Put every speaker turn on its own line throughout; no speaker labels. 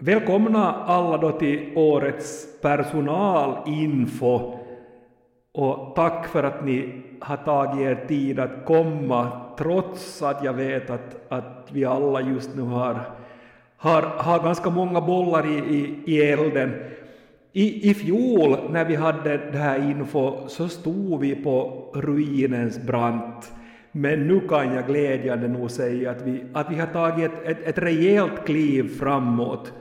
Välkomna alla då till årets personalinfo. Och tack för att ni har tagit er tid att komma, trots att jag vet att, att vi alla just nu har, har, har ganska många bollar i, i, i elden. I, I fjol när vi hade det här info så stod vi på ruinens brant. Men nu kan jag glädjande nog säga att vi, att vi har tagit ett, ett, ett rejält kliv framåt.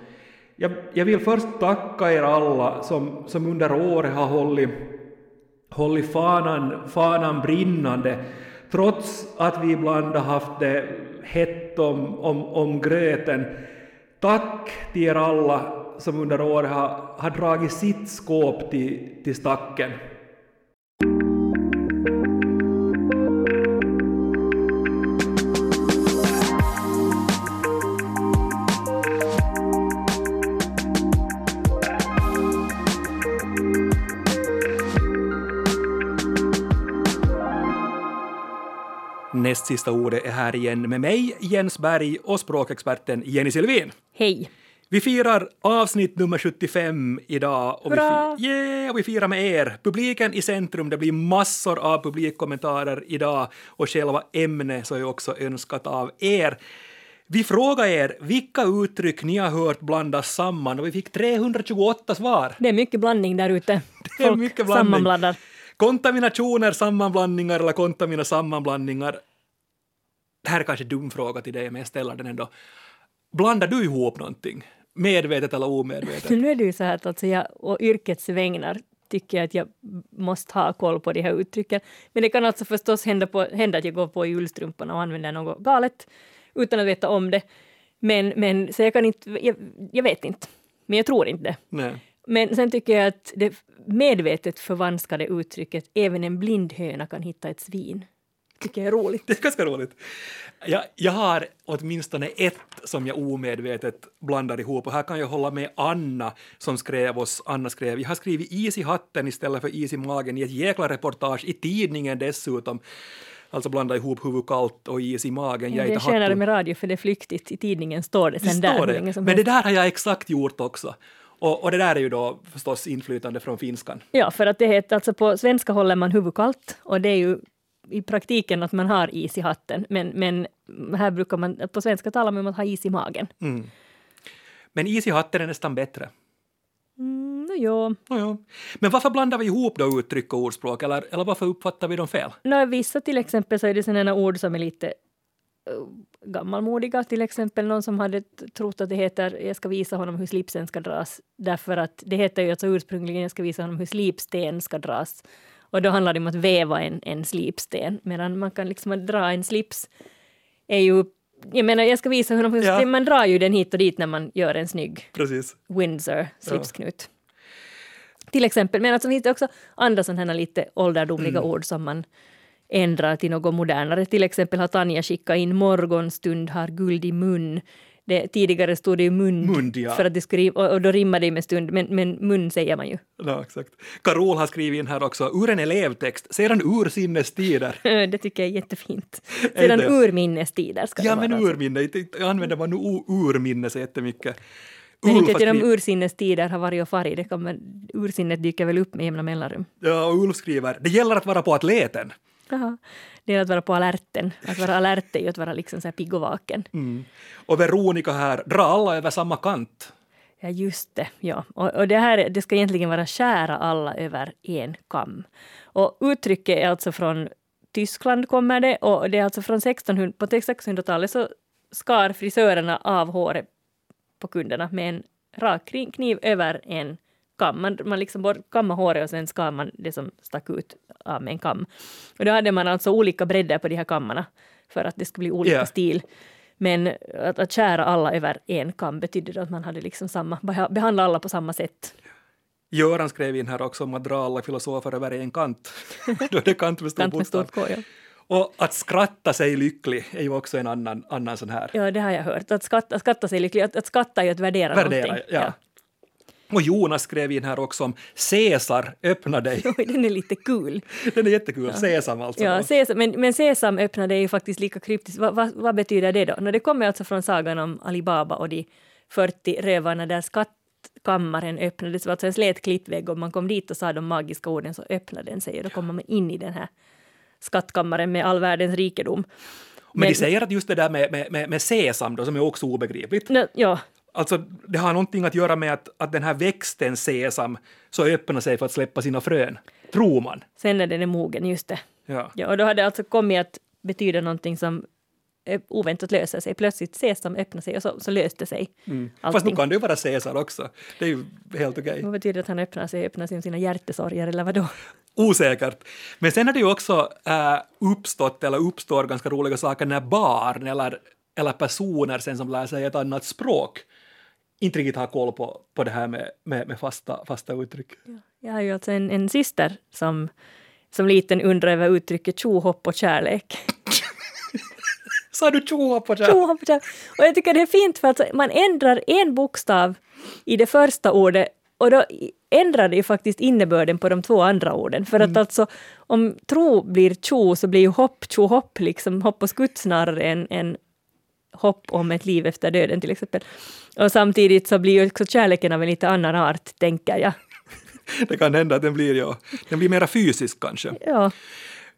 Jag, jag vill först tacka er alla som, som under året har hållit, hållit fanan, fanan brinnande, trots att vi ibland har haft det hett om, om, om gröten. Tack till er alla som under året har, har dragit sitt skåp till, till stacken. Näst sista ordet är här igen med mig, Jens Berg, och språkexperten Jenny Silvin.
Hej!
Vi firar avsnitt nummer 75 idag och vi,
Hurra!
fi- yeah, och vi firar med er. Publiken i centrum, det blir massor av publikkommentarer idag och själva ämnet så är också önskat av er. Vi frågar er vilka uttryck ni har hört blandas samman och vi fick 328 svar.
Det är mycket blandning där ute.
Det är
Folk
mycket blandning.
sammanblandar.
Kontaminationer, sammanblandningar eller kontamina sammanblandningar. Det här är kanske en dum fråga till dig, men jag ställer den ändå. Blandar du ihop någonting? Medvetet eller omedvetet?
Nu är det ju så här att alltså jag och yrkets vägnar tycker jag att jag måste ha koll på de här uttrycken. Men det kan alltså förstås hända, på, hända att jag går på i ullstrumporna och använder något galet utan att veta om det. Men, men så jag kan inte, jag, jag vet inte. Men jag tror inte det.
Nej.
Men sen tycker jag att det medvetet förvanskade uttrycket även en blind höna kan hitta ett svin. Tycker jag är roligt.
Det är ganska roligt. Jag, jag har åtminstone ett som jag omedvetet blandar ihop och här kan jag hålla med Anna som skrev oss. Anna skrev, jag har skrivit is i hatten istället för is i magen i ett jäkla reportage i tidningen dessutom. Alltså blanda ihop huvud kallt och is i magen. Jag är
Det
inte
tjänar det
hatton.
med radio för det är flyktigt. I tidningen står det
Det
sen
står
där. Liksom, hur
det.
länge som
Men det
helst.
där har jag exakt gjort också. Och, och det där är ju då förstås inflytande från finskan.
Ja, för att det heter alltså på svenska håller man huvud kallt och det är ju i praktiken att man har is i hatten. Men, men här brukar man, på svenska talar man om att ha is i magen.
Mm. Men is i hatten är nästan bättre.
Mm, nå jo.
Nåja. Men varför blandar vi ihop då uttryck och ordspråk eller, eller varför uppfattar vi dem fel?
Nå, vissa till exempel så är det sådana ord som är lite eh, gammalmodiga, till exempel någon som hade t- trott att det heter jag ska visa honom hur slipsen ska dras, därför att det heter ju alltså ursprungligen jag ska visa honom hur slipsten ska dras. Och då handlar det om att väva en, en slipsten, medan man kan liksom dra en slips är ju, jag menar jag ska visa honom hur,
Ja.
man drar ju den hit och dit när man gör en snygg
Precis.
Windsor slipsknut. Till exempel, men alltså, det finns också andra sådana här lite ålderdomliga
Mm.
ord som man ändrar till något modernare. Till exempel har Tanja skickat in morgonstund har guld i mun. Det, tidigare stod det ju mund,
Mund, ja.
för att det skulle, rim- och, och då rimmar det ju med stund, men, men mun säger man ju.
Ja, exakt. Karol har skrivit in här också, ur en elevtext, sedan ursinnes tider.
Det tycker jag är jättefint.
Är
Sedan
det?
urminnes tider ska
Ja,
det
men
vara.
urminne, inte- inte använder man nu o- urminne så jättemycket.
Men inte
Ulf
att genom
skriver,
ursinnes tider har varit och farit, det kommer, ursinnet dyker väl upp med jämna mellanrum.
ja, och Ulf skriver, det gäller att vara på atleten.
Jaha. Det är att vara på alerten. Att vara alert är ju att vara liksom så här pigg och vaken.
Och Veronica här, dra alla över samma kant.
Ja, just det. Ja. Och, och det här det ska egentligen vara skära alla över en kam. Och uttrycket är alltså från Tyskland kommer det och det är alltså från 1600, på 1600-talet så skar frisörerna av håret på kunderna med en rak kri- kniv över en kam. Man, man liksom bort, kammade håret och sen skar man det som stack ut av med en kam. Och då hade man alltså olika bredder på de här kammarna för att det skulle bli olika
Ja.
stil. Men att, att skära alla över en kam betydde då att man hade liksom samma, beha- behandla alla på samma sätt.
Göran skrev in här också om att dra alla filosofer över en kant. Då är det kant med stor
Kant med
bokstav.
stort K, ja.
Och att skratta sig lycklig är ju också en annan, annan sån här.
ja, det har jag hört. Att skatta, skatta sig lycklig, att, att skatta är ju att värdera,
Värdera,
någonting.
ja. Och Jonas skrev in här också om Caesar, öppna dig.
Ja. Oj, den är lite kul.
Den är jättekul, Sesam alltså.
Ja, sesam, men, men sesam öppnade är ju faktiskt lika kryptiskt. Va, va, vad betyder det då? No, det kommer alltså från sagan om Alibaba och de 40 rövarna där skattkammaren öppnades. Det var alltså en slät klittvägg. Om man kom dit och sa de magiska orden så öppnade den sig och då kommer man in i den här skattkammaren med all världens rikedom.
Men, de säger att just det där med, med, med, med sesam då, som är också obegripligt.
Nå, ja,
Alltså, det har någonting att göra med att, att den här växten sesam så öppnar sig för att släppa sina frön, tror man.
sen när den är mogen, just det.
Ja.
Ja, och då hade det alltså kommit att betyda någonting som eh, oväntat löser sig. Plötsligt sesam öppnar sig och så, så löste sig
Fast nu
Mm. allting.
kan det ju vara sesam också. Det är ju helt okej.
Vad betyder att han öppnar sig? Öppnar sig om sina hjärtesorger eller vadå?
Osäkert. Men sen har det ju också äh, uppstått eller uppstår ganska roliga saker när barn eller, eller personer sen som lär sig ett annat språk inte riktigt har koll på, på det här med, med, med fasta, fasta uttryck.
Jag har ju alltså en, en syster som som liten undrar över uttrycket tjohopp och kärlek.
Sa du tjoa på det?
Tjohopp och kärlek. Och jag tycker det är fint för att man ändrar en bokstav i det första ordet och då i- ändrar det ju faktiskt innebörden på de två andra orden. För att alltså om tro blir tjo så blir ju hopp tjohopp, liksom hopp och skutt snarare än, än hopp om ett liv efter döden till exempel. Och samtidigt så blir ju också kärleken av en lite annan art, tänker jag.
Det kan hända att den blir, ja, den blir mera fysisk kanske.
Ja.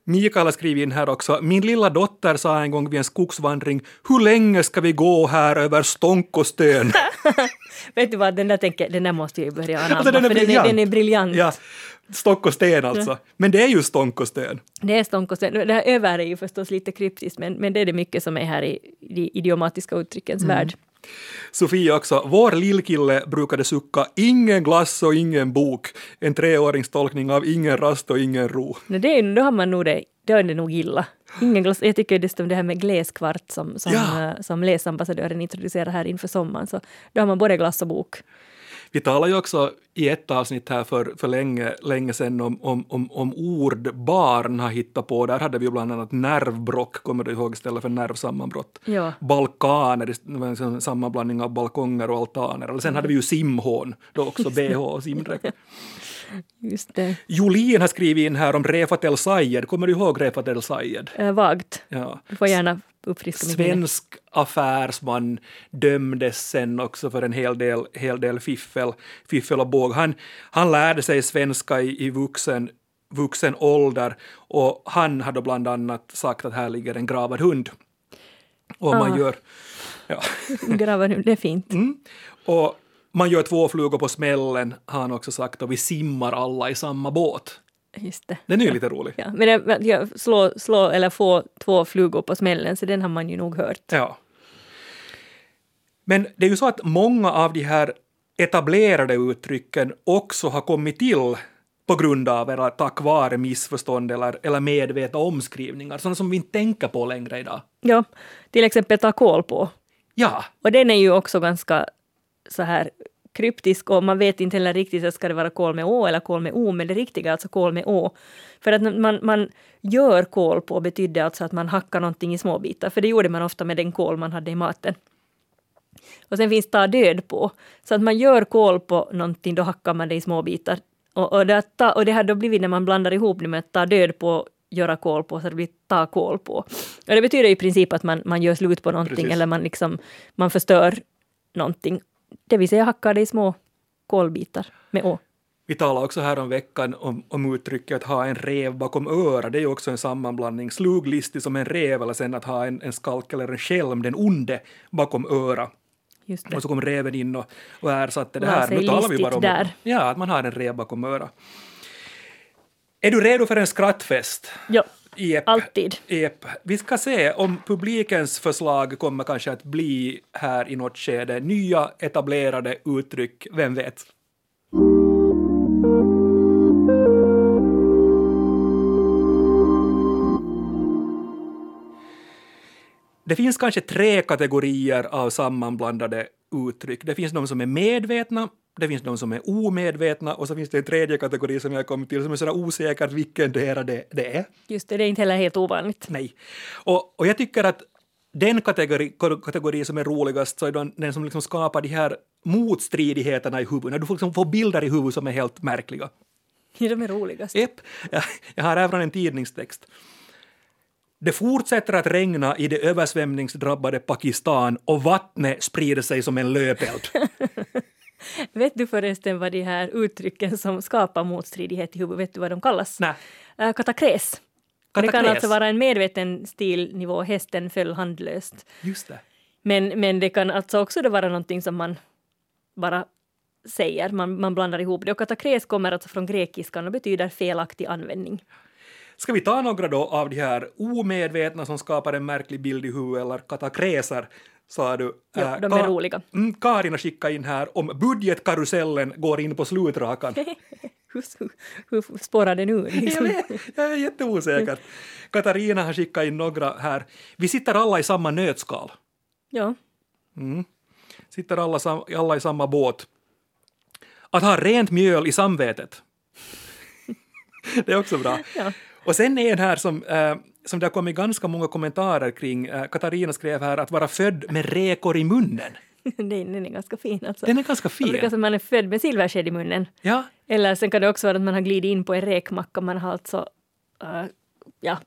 Mikael har skrivit in här också. Min lilla dotter sa en gång vid en skogsvandring, hur länge ska vi gå här över stånk och stön?
Vet du vad, den där, tänker, den där måste jag ju börja anamma,
Alltså, den är
för den är,
briljant.
den är briljant.
ja, stånk och sten alltså. Men det är ju stånk och stön.
Det är stånk och sen, det här över är ju förstås lite kryptiskt, men, men det är det mycket som är här i de idiomatiska uttryckens
Mm.
värld.
Sofie också. Vår lillkille brukade sucka ingen glass och ingen bok. En treårings tolkning av ingen rast och ingen ro.
Men det är, då har man nog det, då är det nog illa. Ingen glas, jag tycker dessutom det här med gläskvart som, som,
Ja.
eh, som läsambassadören introducerar här inför sommaren, så då har man både glass och bok.
Vi talade ju också i ett avsnitt här för, för länge, länge sedan om, om, om, om ord barn har hittat på. Där hade vi ju bland annat nervbrock, kommer du ihåg, istället för nervsammanbrott.
Ja.
Balkaner, det var en sån sammanblandning av balkonger och altaner. Eller sen hade vi ju simhån, då också bh och simdräkt.
Just det.
Jolin har skrivit in här om Refat El Sayed, kommer du ihåg Refat El Sayed?
Eh, vagt.
Ja.
Du får gärna uppfriska mitt minne.
svensk affärsman dömdes sen också för en hel del, hel del fiffel, fiffel och båg. Han, han lärde sig svenska i, i vuxen, vuxen ålder och han hade bland annat sagt att här ligger en gravad hund. Och man
Ah.
gör... Ja.
Grava nu, det är fint.
Mm. Och man gör två flugor på smällen, har han också sagt, och vi simmar alla i samma båt.
Just det.
Den är ju lite rolig.
Ja, men jag- men jag, slå, slå eller få två flugor på smällen, så den har man ju nog hört.
Ja. Men det är ju så att många av de här etablerade uttrycken också har kommit till på grund av eller tack vare missförstånd eller, eller medvetna omskrivningar, sådana som vi inte tänker på längre idag.
Ja, till exempel ta koll på.
Ja,
Och den är ju också ganska så här kryptisk och man vet inte heller riktigt så ska det vara kol med å eller kol med o, men det riktiga är alltså kol med å. För att när man, man gör kol på betydde alltså att man hackar någonting i små bitar, för det gjorde man ofta med den kol man hade i maten. Och sen finns ta död på. Så att man gör kol på någonting, då hackar man det i små bitar. Och, och, det, att ta, och det har då blivit när man blandar ihop det med att ta död på, göra kol på, så det blir ta kol på. Och det betyder i princip att man, man gör slut på någonting
Precis.
eller man, liksom, man förstör någonting. Det vill säga hackar det i små kolbitar med å.
vi talade också här om veckan om, om uttrycket att ha en rev bakom örat, det är ju också en sammanblandning, sluglistig som en rev eller sen att ha en, en skalk eller en skälm, den onde, bakom örat.
Just
Och
det.
så kom reven in och, och ersatte det
Lär
här.
sig
Nu talar vi
listigt
bara om
där.
ja, att man har en rev bakom örat. Är du redo för en skrattfest?
Ja,
Jep.
alltid.
Jep. Vi ska se om publikens förslag kommer kanske att bli här i något skede. Nya etablerade uttryck, vem vet? Det finns kanske tre kategorier av sammanblandade uttryck. Det finns de som är medvetna, det finns de som är omedvetna och så finns det en tredje kategori som jag kom till som är sådär osäkert vilken det, det är.
Just det, det är inte heller helt ovanligt.
Nej. Och, och jag tycker att den kategori, kategori som är roligast så är den, den som liksom skapar de här motstridigheterna i huvudet. När Du får, liksom får bilder i huvudet som är helt märkliga.
De är roligast.
Epp. Jag, jag har här från en tidningstext. Det fortsätter att regna i det översvämningsdrabbade Pakistan och vattnet sprider sig som en löpeld.
Vet du förresten vad de här uttrycken som skapar motstridighet i huvudet, vet du vad de kallas?
Nej.
Äh, katakres. Och Det kan
Katakres.
alltså vara en medveten stilnivå, hästen föll handlöst.
Just det.
Men, men det kan alltså också då vara någonting som man bara säger, man, man blandar ihop det. Och katakres kommer alltså från grekiskan och betyder felaktig användning.
Ska vi ta några då av de här omedvetna som skapar en märklig bild i huvudet, eller katakreser, sa du?
Jo,
Äh,
de är
Ka-
roliga.
Mm, Karin har skickat in här om budgetkarusellen går in på slutrakan.
Hur, hur, hur spårar den ur?
Jag,
Liksom?
vet, jag är jätteosäker. Katarina har skickat in några här. Vi sitter alla i samma nötskal.
Ja.
Sitter alla, sam- alla i samma båt. Att ha rent mjöl i samvetet. Det är också bra.
Ja.
Och sen är en här som, eh, som det har kommit ganska många kommentarer kring. Eh, Katarina skrev här att vara född med räkor i munnen.
Den, den är ganska fin alltså.
Den är ganska
Man brukar
fin.
säga att man är född med silversked i munnen.
Ja,
Eller sen kan det också vara att man har glidit in på en räkmacka, man har alltså äh, ja,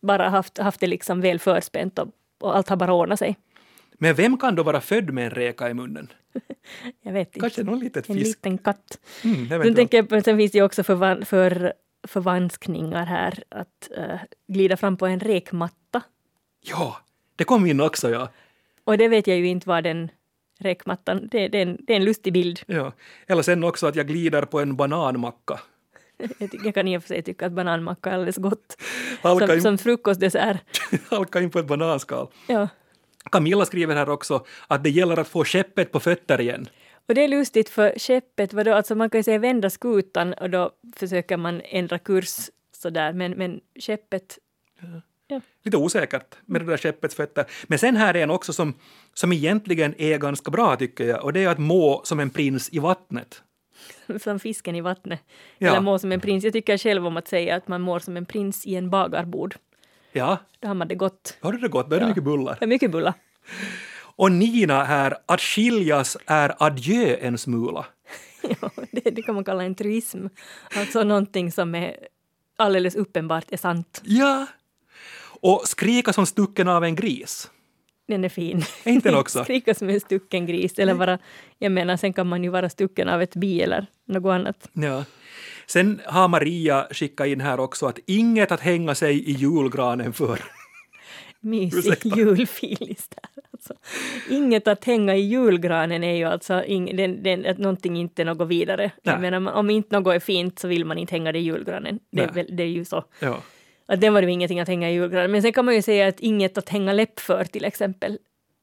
bara haft, haft det liksom väl förspänt och, och allt har bara ordnat sig.
men vem kan då vara född med en räka i munnen?
Jag vet inte.
Kanske någon litet
en
fisk.
liten katt.
Mm,
Sen,
eventuellt.
tänker jag, på- sen finns det ju också förvan, för, förvanskningar här, att äh, glida fram på en räkmatta.
Ja, det kom in också, ja.
Och det vet jag ju inte vad den räkmattan, det, det, är, en, det är en lustig bild.
Ja. Eller sen också att jag glider på en bananmacka.
Jag, tycker- jag kan i och för sig tycka att bananmacka är alldeles gott.
Halka
Som,
in-
som frukostdessert.
Halka in på ett bananskal.
Ja.
Camilla skriver här också att det gäller att få skeppet på fötter igen.
Och det är lustigt för skeppet, vadå, alltså man kan ju säga vända skutan och då försöker man ändra kurs sådär, men, men skeppet,
Lite osäkert med det där skeppets fötter. Men sen här är en också som, som egentligen är ganska bra tycker jag och det är att må som en prins i vattnet.
som fisken i vattnet.
Ja.
Eller mår som en prins. Jag tycker själv om att säga att man mår som en prins i en bagarbord.
Ja,
Då har man det gott.
har du det gott? Då är det mycket bullar.
Det är mycket bulla.
Och Nina här, att skiljas är adjö en smula.
Ja, det, det kan man kalla en truism. Alltså någonting som är alldeles uppenbart är sant.
Ja! Och skrika som stucken av en gris.
Den är fin.
Är inte den också?
Skrika som en stucken gris. Eller bara, jag menar, sen kan man ju vara stucken av ett bi eller något annat.
Ja. Sen har Maria skickat in här också att inget att hänga sig i julgranen för.
mysig
Ursäkta.
julfilis där. Alltså, inget att hänga i julgranen är ju alltså ing, den, den, att någonting inte är något vidare. Jag
Nej.
menar, om inte något är fint så vill man inte hänga det i julgranen. Det, är
Nej.
väl, det är ju så.
Ja.
Att den var det ju ingenting att hänga i julgranen. Men sen kan man ju säga att inget att hänga läpp för till exempel.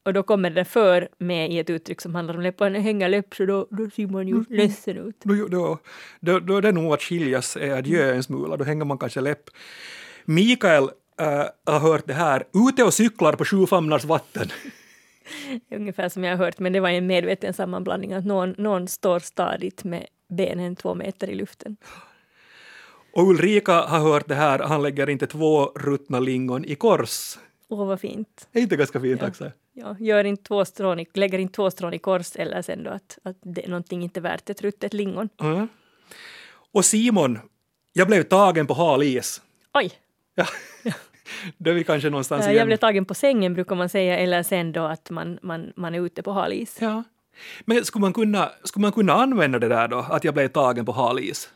Och då kommer det där för med i ett uttryck som handlar om läpp. Och hänga läpp så då, då ser man ju
Mm.
ledsen ut.
Då, då, då, då är det nog att skiljas är adjö en smula, då hänger man kanske läpp. Mikael äh, har hört det här, ute och cyklar på sjufamnars vatten.
Ungefär som jag har hört, men det var ju en medveten sammanblandning att någon, någon står stadigt med benen två meter i luften.
Och Ulrika har hört det här, han lägger inte två ruttna lingon i kors.
Åh, vad fint.
Det är inte ganska fint också?
Ja, gör inte två strån i, lägger inte två strån i kors eller sen då att, att det, någonting inte är värt ett ruttet lingon.
Mm. Och Simon, jag blev tagen på hal is.
Oj!
Ja. Då är vi kanske någonstans
Äh,
igen.
jag blev tagen på sängen brukar man säga eller sen då att man, man, man är ute på hal is.
Ja. Men skulle man, kunna, skulle man kunna använda det där då, att jag blev tagen på hal is?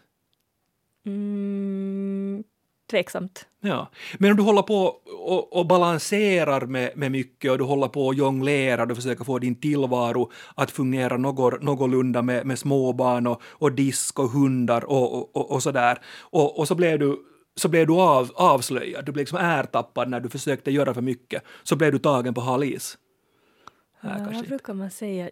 Mm, tveksamt.
Ja. Men om du håller på och, och balanserar med, med mycket och du håller på och jonglerar, du försöker få din tillvaro att fungera någor, någorlunda med, med småbarn och, och disk och hundar och, och, och, och sådär. Och, och så blev du, så blev du av, avslöjad, du blev liksom ärtappad när du försökte göra för mycket. Så blev du tagen på hal is. Här
Ja,
kanske
vad
inte.
brukar man säga?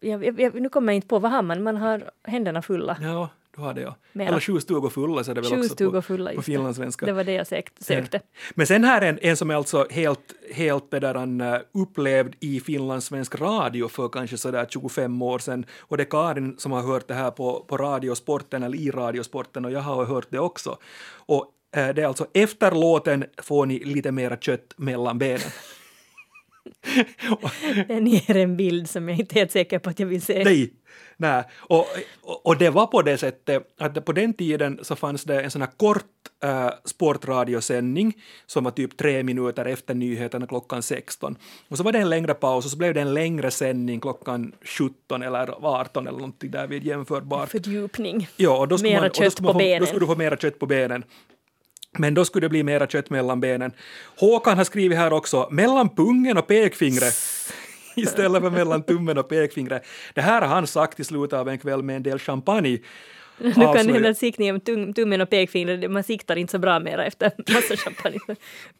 Jag, jag, jag, nu kommer jag inte på vad har man? Man har händerna fulla.
Ja, du har det ja.
Mera.
Eller sju stugor fulla så är det väl också
Tjuvstugor
på,
fulla.
på
just det.
finlandssvenska.
Det var det jag sökt, sökte.
Eh, Men sen här är en, en som är alltså helt, helt det där han eh, upplevd i finlandssvensk radio för kanske sådär 25 år sedan. Och det är Karin som har hört det här på, på Radiosporten eller i Radiosporten och jag har hört det också. Och eh, det är alltså efter låten får ni lite mera kött mellan benen.
Den ger en bild som jag inte är helt säker på att jag vill se.
Nej, nej. Och, och, och det var på det sättet att på den tiden så fanns det en sån här kort äh, sportradiosändning som var typ tre minuter efter nyheterna klockan 16. Och så var det en längre paus och så blev det en längre sändning klockan 17 eller 18 eller någonting därvid jämförbart.
Fördjupning.
Ja, och då skulle,
Mera
man, och då
kött
skulle, man
på
få, då
benen.
skulle du få mera kött på benen. Men då skulle det bli mera kött mellan benen. Håkan har skrivit här också, mellan pungen och pekfingret. Istället för mellan tummen och pekfingret. Det här har han sagt i slutet av en kväll med en del champagne. Alltså,
Nu kan det
Avslöja-
hända att siktningen med tum- tummen och pekfingret, man siktar inte så bra mera efter massa champagne.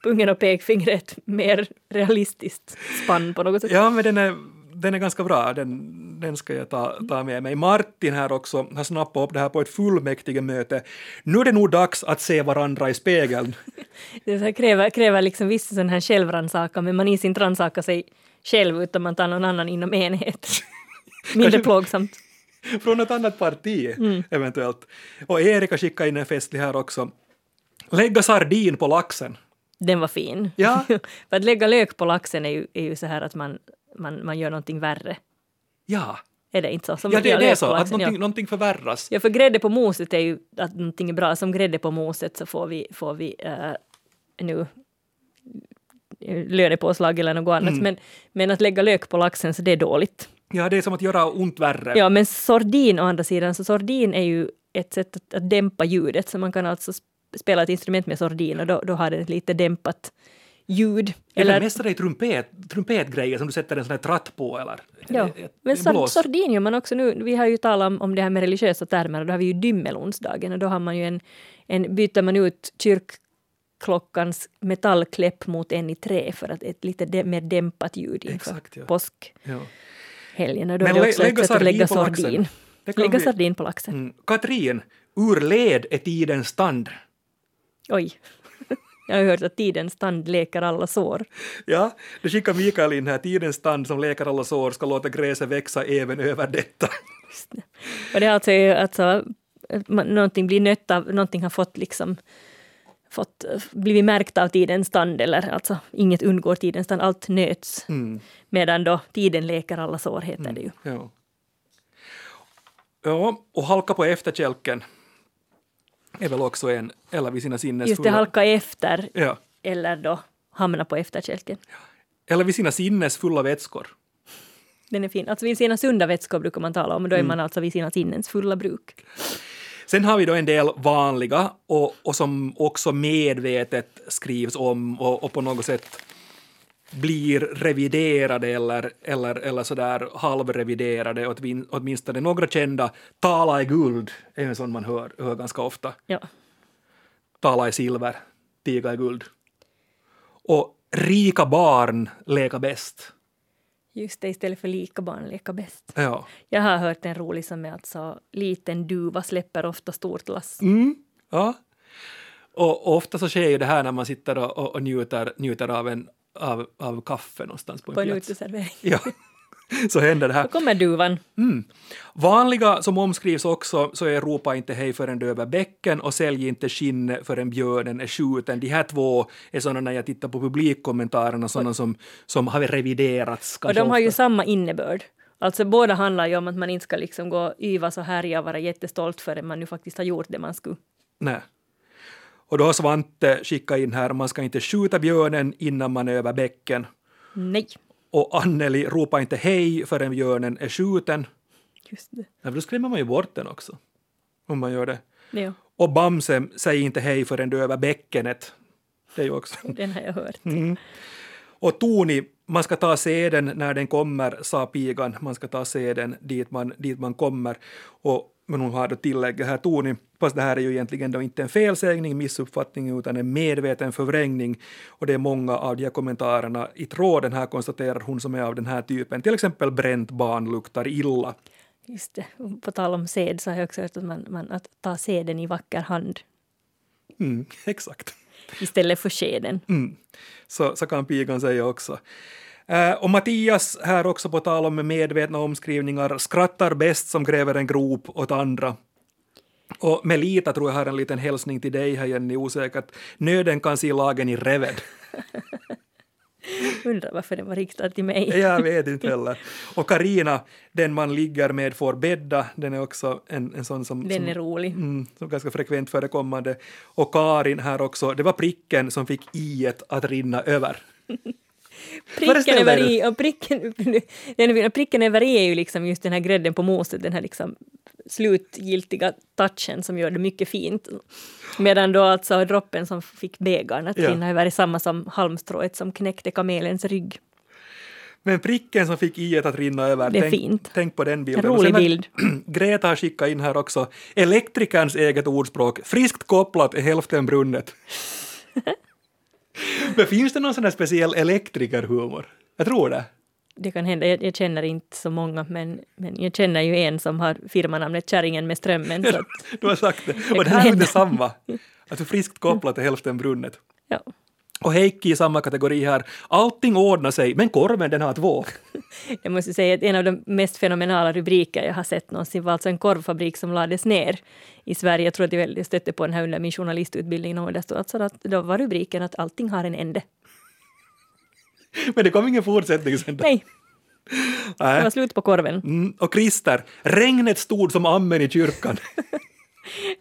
Pungen och pekfingret, mer realistiskt spann på något sätt.
Ja, men den är, den är ganska bra. Den, den ska jag ta, ta med mig. Martin här också har snappat upp det här på ett fullmäktigemöte. Nu är det nog dags att se varandra i spegeln.
Det så här kräver, kräver liksom viss sån här självrannsakan, men man is inte rannsakar sig själv utan man tar någon annan inom enhet. Mindre
Kanske-
plågsamt.
Från ett annat parti,
Mm.
eventuellt. Och Erika skickade in en festlig här också. Lägga sardin på laxen.
Den var fin.
Ja.
För att lägga lök på laxen är ju, är ju så här att man, man, man gör någonting värre.
Ja,
Är det inte så? Som
ja det,
jag
det är
lök
så,
på
att
laxen, ja.
någonting, någonting förvärras.
Ja, för grädde på moset är ju att någonting är bra. Som grädde på moset så får vi, får vi eh, nu eh, lönepåslag eller något annat. Men, men att lägga lök på laxen, så det är dåligt.
Ja, det är som att göra ont värre.
Ja, men sordin å andra sidan, så sordin är ju ett sätt att, att dämpa ljudet. Så man kan alltså sp- spela ett instrument med sordin och då, då har det ett lite dämpat ljud.
Eller
Eller,
mest är det trumpet, trumpetgrejer som du sätter en sån här tratt på eller eh,
ja.
ett- ett-
Men
ett
sor-
blås.
sordin gör man också nu. Vi har ju talat om, om det här med religiösa termer och då har vi ju dymmelonsdagen och då har man ju en, en byter man ut kyrkklockans metallkläpp mot en i trä för att ett lite dä- mer dämpat ljud inför
Exakt, ja.
påskhelgen.
Ja.
Och då
Men
är det
lä-
också ett
lägga
sätt att
sardin
lägga
på laxen.
sordin.
Det kan
Lägga
bli-
sardin på laxen.
Mm. Katrin, ur led är tidens tand.
Oj. Jag har hört att tidens tand läker alla sår.
Ja, det skickar Mikael in här. Tidens tand som läkar alla sår ska låta gräset växa även över detta.
Och det är alltså, ju alltså att man, någonting blir nött av, någonting har fått liksom fått, blivit märkt av tidens tand eller alltså inget undgår tidens tand, allt nöts. Medan då tiden läker alla sår heter det ju.
Ja. ja, och halka på efterkälken är väl också en, eller vid sina sinnes
Just det,
fulla-
halka efter
Ja.
eller då hamna på efterkälken.
Eller vid sina sinnes fulla vätskor.
Den är fin. Alltså vid sina sunda vätskor brukar man tala om, och då är man alltså vid sina sinnens fulla bruk.
Sen har vi då en del vanliga och, och som också medvetet skrivs om och, och på något sätt blir reviderade eller, eller, eller sådär halvreviderade, åtmin- åtminstone några kända. Tala i guld är en sån man hör, hör ganska ofta.
Ja.
Tala i silver, tiga i guld. Och rika barn leka bäst.
Just det, istället för lika barn leka bäst.
Ja.
Jag har hört en rolig som är alltså liten duva släpper ofta stort lass.
Ja. Och, och ofta så sker ju det här när man sitter och, och, och njuter, njuter av, en, av, av kaffe någonstans på en,
På en
plats.
uteservering.
Ja. Så händer det här.
Då kommer duvan.
Vanliga som omskrivs också så är ropa inte hej förrän du är över bäcken och sälj inte skinn förrän björnen är skjuten. De här två är sådana när jag tittar på publikkommentarerna, sådana som, som har reviderats.
Och
kanske
de har ju
ofta.
samma innebörd. Alltså båda handlar ju om att man inte ska liksom gå och yvas och härja och vara jättestolt förrän man nu faktiskt har gjort det man skulle.
Nej. Och då har Svante skickat in här, man ska inte skjuta björnen innan man är över bäcken.
Nej,
och Anneli ropar inte hej förrän björnen är skjuten.
just det.
Ja, för då skrämmer man ju bort den också. Om man gör det.
Ja,
Och Bamse säger inte hej förrän du är över bäckenet. Det är ju också.
den har jag hört.
Och Toni, man ska ta seden när den kommer, sa pigan. Man ska ta seden dit man, dit man kommer. Och, men hon har då tillägget här, Toni, fast det här är ju egentligen då inte en felsägning, missuppfattning, utan en medveten förvrängning. Och det är många av de här kommentarerna i tråden här, konstaterar hon, som är av den här typen. Till exempel bränt barn luktar illa.
Just det. Och På tal om sed så har jag också hört att, man, man, att ta seden i vacker hand
Mm, exakt.
istället för skeden.
Mm. Så, så kan pigan säga också. Eh, och Mattias här också på tal om medvetna omskrivningar, skrattar bäst som gräver en grop åt andra. Och Melita tror jag har en liten hälsning till dig här Jenny, osäkert. Nöden kan se lagen i reven.
Undrar varför den var riktad till mig.
Jag vet inte heller. Och Karina, den man ligger med får bädda, den är också en, en sån som...
Den
som,
är rolig.
Mm, som ganska frekvent förekommande. Och Karin här också, det var pricken som fick i att rinna över.
Pricken
Föreställ dig
över
det.
i, och pricken, den, pricken över i är ju liksom just den här grädden på moset, den här liksom slutgiltiga touchen som gör det mycket fint. Medan då alltså droppen som fick bägaren att
Ja.
rinna över är samma som halmstrået som knäckte kamelens rygg.
Men pricken som fick i att rinna över,
Det är
tänk,
fint.
tänk på den bilden.
En
Och
rolig
sen har-
bild.
Greta har skickat in här också, elektrikerns eget ordspråk, friskt kopplat är hälften brunnet. Men finns det någon sån här speciell elektrikerhumor? Jag tror det.
Det kan hända, jag, jag känner inte så många, men, men jag känner ju en som har firmanamnet Kärringen med strömmen. Så att,
Du har sagt det. Och det här
kan
är
hända.
inte samma. Alltså friskt kopplat till hälften brunnet.
ja.
Och Heikki i samma kategori här. Allting ordnar sig, men korven den har två.
Jag måste säga att en av de mest fenomenala rubriker jag har sett någonsin var alltså en korvfabrik som lades ner i Sverige. Jag tror att jag väl stötte på den här under min journalistutbildning och där stod alltså att då var rubriken att allting har en ände.
Men det kom ingen fortsättning sen. då.
Nej, det
Nej.
var slut på korven.
Mm. Och Christer, regnet stod som ammen i kyrkan.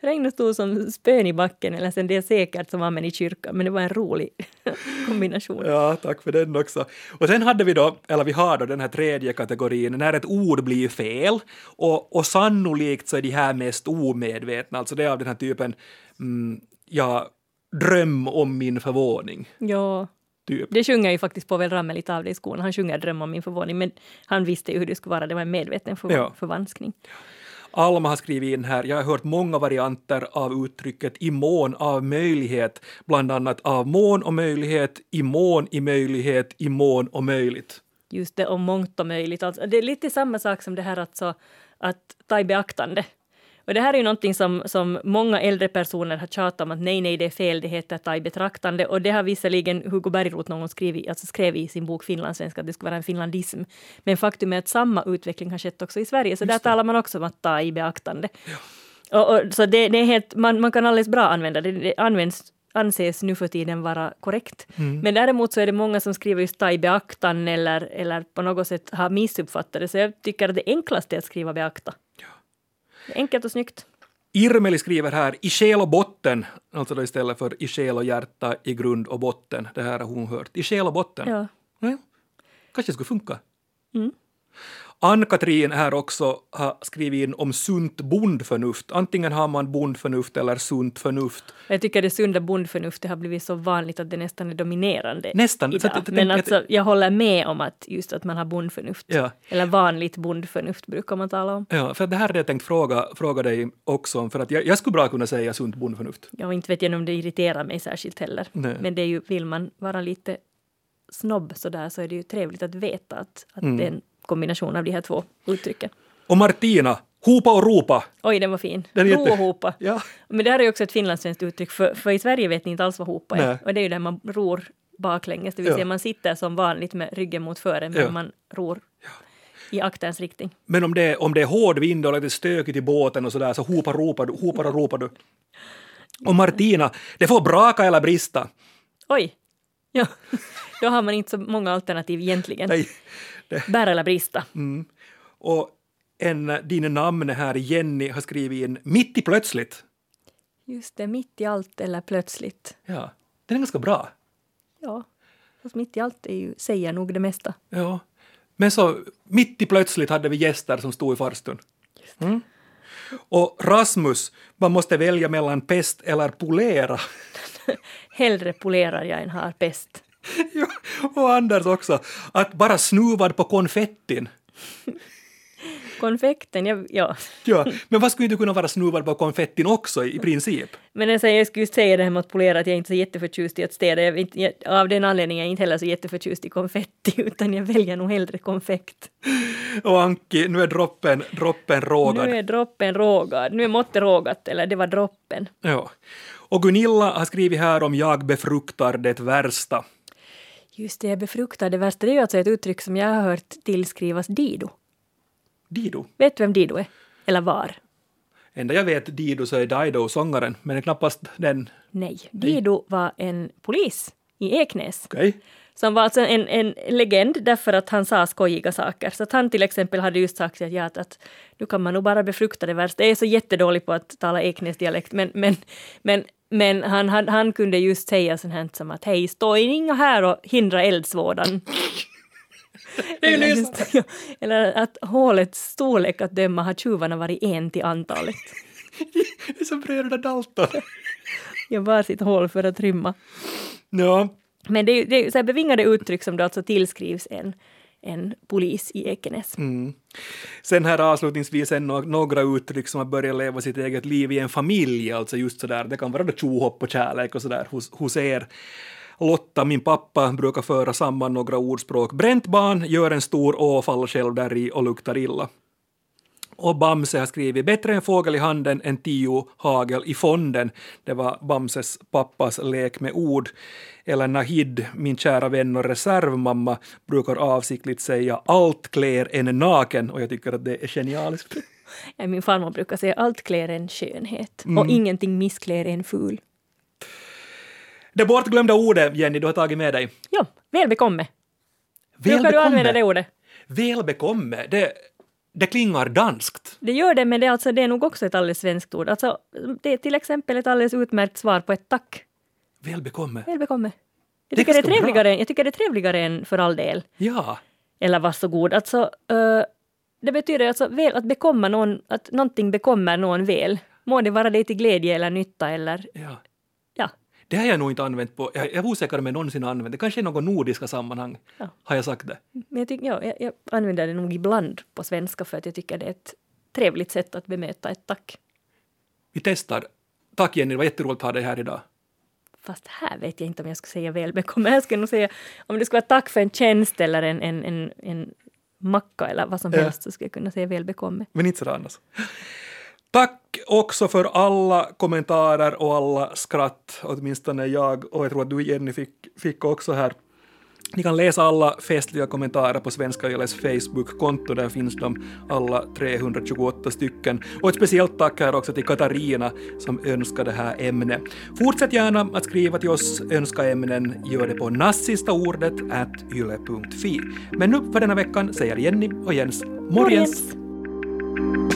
Regnet stod som spön i backen, eller sen det är säkert som amen i kyrkan, men det var en rolig kombination.
Ja, tack för den också. Och sen hade vi då, eller vi har då den här tredje kategorin, när ett ord blir fel och, och sannolikt så är de här mest omedvetna, alltså det är av den här typen, mm, ja, dröm om min förvåning,
Ja.
typ.
Det sjunger ju faktiskt Povel Ramel lite av det i skolan. Han sjunger Dröm om min förvåning, men han visste ju hur det skulle vara. Det var en medveten förv-
Ja.
förvanskning.
Alma har skrivit in här, jag har hört många varianter av uttrycket i mån av möjlighet, bland annat av mån och möjlighet, i mån i möjlighet, i mån och möjligt.
just det om mångt och möjligt. Alltså, det är lite samma sak som det här alltså, att ta i beaktande. Och det här är ju någonting som, som många äldre personer har tjatat om att nej, nej, det är fel, det heter ta i betraktande. Och det har visserligen Hugo Bergroth någon gång skrivit, alltså skrev i sin bok Finlandssvenska att det skulle vara en finlandism. Men faktum är att samma utveckling har skett också i Sverige, så där talar man också om att ta i beaktande. Och, och, så det, det är helt, man, man kan alldeles bra använda det. Det används, anses nu för tiden vara korrekt.
Mm.
Men däremot så är det många som skriver just ta i beaktan eller, eller på något sätt har missuppfattat det. Så jag tycker att det enklaste är att skriva beakta. Det är Enkelt och snyggt.
Irmeli skriver här i själ och botten, alltså då istället för i själ och hjärta, i grund och botten. Det här har hon hört. I själ och botten.
Ja.
Ja. Kanske skulle funka. Ann-Katrin här också har skrivit in om sunt bondförnuft. Antingen har man bondförnuft eller sunt förnuft.
Jag tycker det sunda bondförnuftet har blivit så vanligt att det nästan är dominerande.
Nästan. Så
Idag.
att jag
Men
tänker att-
alltså, jag håller med om att just att man har bondförnuft.
Ja.
Eller vanligt bondförnuft brukar man tala om.
Ja, för det här hade jag tänkt fråga, fråga dig också om, för att jag, jag skulle bra kunna säga sunt bondförnuft.
Jag inte vet jag om det irriterar mig särskilt heller.
Nej.
Men det är ju, vill man vara lite snobb så där så är det ju trevligt att veta att, att
Mm.
det är en kombination av de här två uttrycken.
Och Martina, hopa och ropa!
Oj, den var fin.
Den är jätte-
Rohopa.
Ja.
Men det här är ju också ett finlandssvenskt uttryck, för, för i Sverige vet ni inte alls vad hopa är.
Nej.
Och det är ju där man ror baklänges, det vill
Ja.
säga man sitter som vanligt med ryggen mot fören, men
Ja.
man ror i akterns riktning.
Men om det, om det är hård vind och lite stökigt i båten och sådär så hopar ropar du, hopar och ropar du. Och Martina, det får braka eller brista.
Oj! Ja, då har man inte så många alternativ egentligen.
Nej. Mm.
Bära eller brista.
Och en, din namn här, Jenny, har skrivit in mitt i plötsligt.
Just det, mitt i allt eller plötsligt.
Ja, den är ganska bra.
Ja, fast mitt i allt är ju säga nog det mesta.
Ja. Men så mitt i plötsligt hade vi gäster som stod i farstun. Mm. Och Rasmus, man måste välja mellan pest eller polera.
Hellre polerar jag än har pest.
Ja, och Anders också, att bara snuvad på konfettin.
Konfekten, jag, ja.
Ja, men vad skulle inte kunna vara snuvad på konfettin också i i princip?
Men jag, säger, jag skulle just säga det här med att polera, att jag är inte så jätteförtjust i att städa. Jag, är inte- jag, av den anledningen är jag inte heller så jätteförtjust i konfetti, utan jag väljer nog hellre konfekt.
Och Anki, nu är droppen, droppen rågad.
Nu är droppen rågad. Nu är måttet rågat, eller det var droppen.
Ja. Och Gunilla har skrivit här om jag befruktar det värsta.
Just det, jag befruktar det värsta. Det är ju alltså ett uttryck som jag har hört tillskrivas Dido.
Dido.
Vet du vem Dido är? Eller var?
Enda jag vet Dido så är Dido sångaren, men det är knappast den.
Nej. Dido var en polis i Eknäs
Okej.
som var alltså en, en legend därför att han sa skojiga saker. Så att han till exempel hade just sagt att, ja, att, att nu kan man nog bara befrukta det värsta. Jag är så jättedålig på att tala Eknäsdialekt men, men, men, men han, han, han kunde just säga sånt här som att hej, stå inga här och hindra eldsvådan. eller, just, ja, eller att hålets storlek att döma har tjuvarna varit en till antalet.
Det är som bröderna Dalton.
Jag var sitt hål för att rymma.
Ja,
Men det är, ju- det är ju så här bevingade uttryck som då alltså tillskrivs en, en polis i Ekenäs.
Mm. Sen här avslutningsvis ännu några uttryck som har börjat leva sitt eget liv i en familj, alltså just sådär, det kan vara då tjohopp och kärlek och sådär hos, hos er. Lotta, min pappa, brukar föra samman några ordspråk. Bränt barn gör en stor å, faller själv där i och luktar illa. Och Bamse har skrivit “Bättre en fågel i handen än tio hagel i fonden”. Det var Bamses pappas lek med ord. Eller Nahid, min kära vän och reservmamma, brukar avsiktligt säga “allt klär en naken” och jag tycker att det är genialiskt.
Ja, Eh, Min farmor brukar säga allt klär en skönhet
Mm.
och ingenting missklär en ful.
Det bortglömda ordet, Jenny, du har tagit med dig.
Ja, välbekomme. Brukar du använda det ordet?
Välbekomme, det, det klingar danskt.
Det gör det, men det är, alltså, det är nog också ett alldeles svenskt ord. Alltså, det är till exempel ett alldeles utmärkt svar på ett tack.
Välbekomme.
Välbekomme. Jag
Det är
tycker det är
ganska bra.
trevligare, än- jag tycker det är trevligare än för all del.
Ja.
Eller varsågod. Alltså, eh, det betyder alltså väl, att, bekomma någon, att någonting bekommer någon väl. Må det vara dig till glädje eller nytta eller
ja.
ja.
Det har jag nog inte använt på, jag jag är osäker om jag någonsin har använt det, kanske i något nordiska sammanhang
Ja.
har jag sagt det.
Men jag, tycker, ja, jag, jag använder det nog ibland på svenska för att jag tycker det är ett trevligt sätt att bemöta ett tack.
Vi testar. Tack Jenny, det var jätteroligt att ha dig här idag.
Fast här vet jag inte om jag ska säga välbekomme. Jag skulle nog säga om det skulle vara tack för en tjänst eller en, en, en, en macka eller vad som
Ja.
helst så skulle jag kunna säga välbekomme.
Men inte sådär annars. Tack också för alla kommentarer och alla skratt, åtminstone jag och jag tror att du Jenny fick, fick också här. Ni kan läsa alla festliga kommentarer på Svenska Yles Facebook-konto, där finns de alla 328 stycken. Och ett speciellt tack här också till Katarina som önskar det här ämnet. Fortsätt gärna att skriva till oss, önska ämnen, gör det på nassistaordet at yle.fi. Men nu för denna veckan säger Jenny och Jens morjens!
Morjens!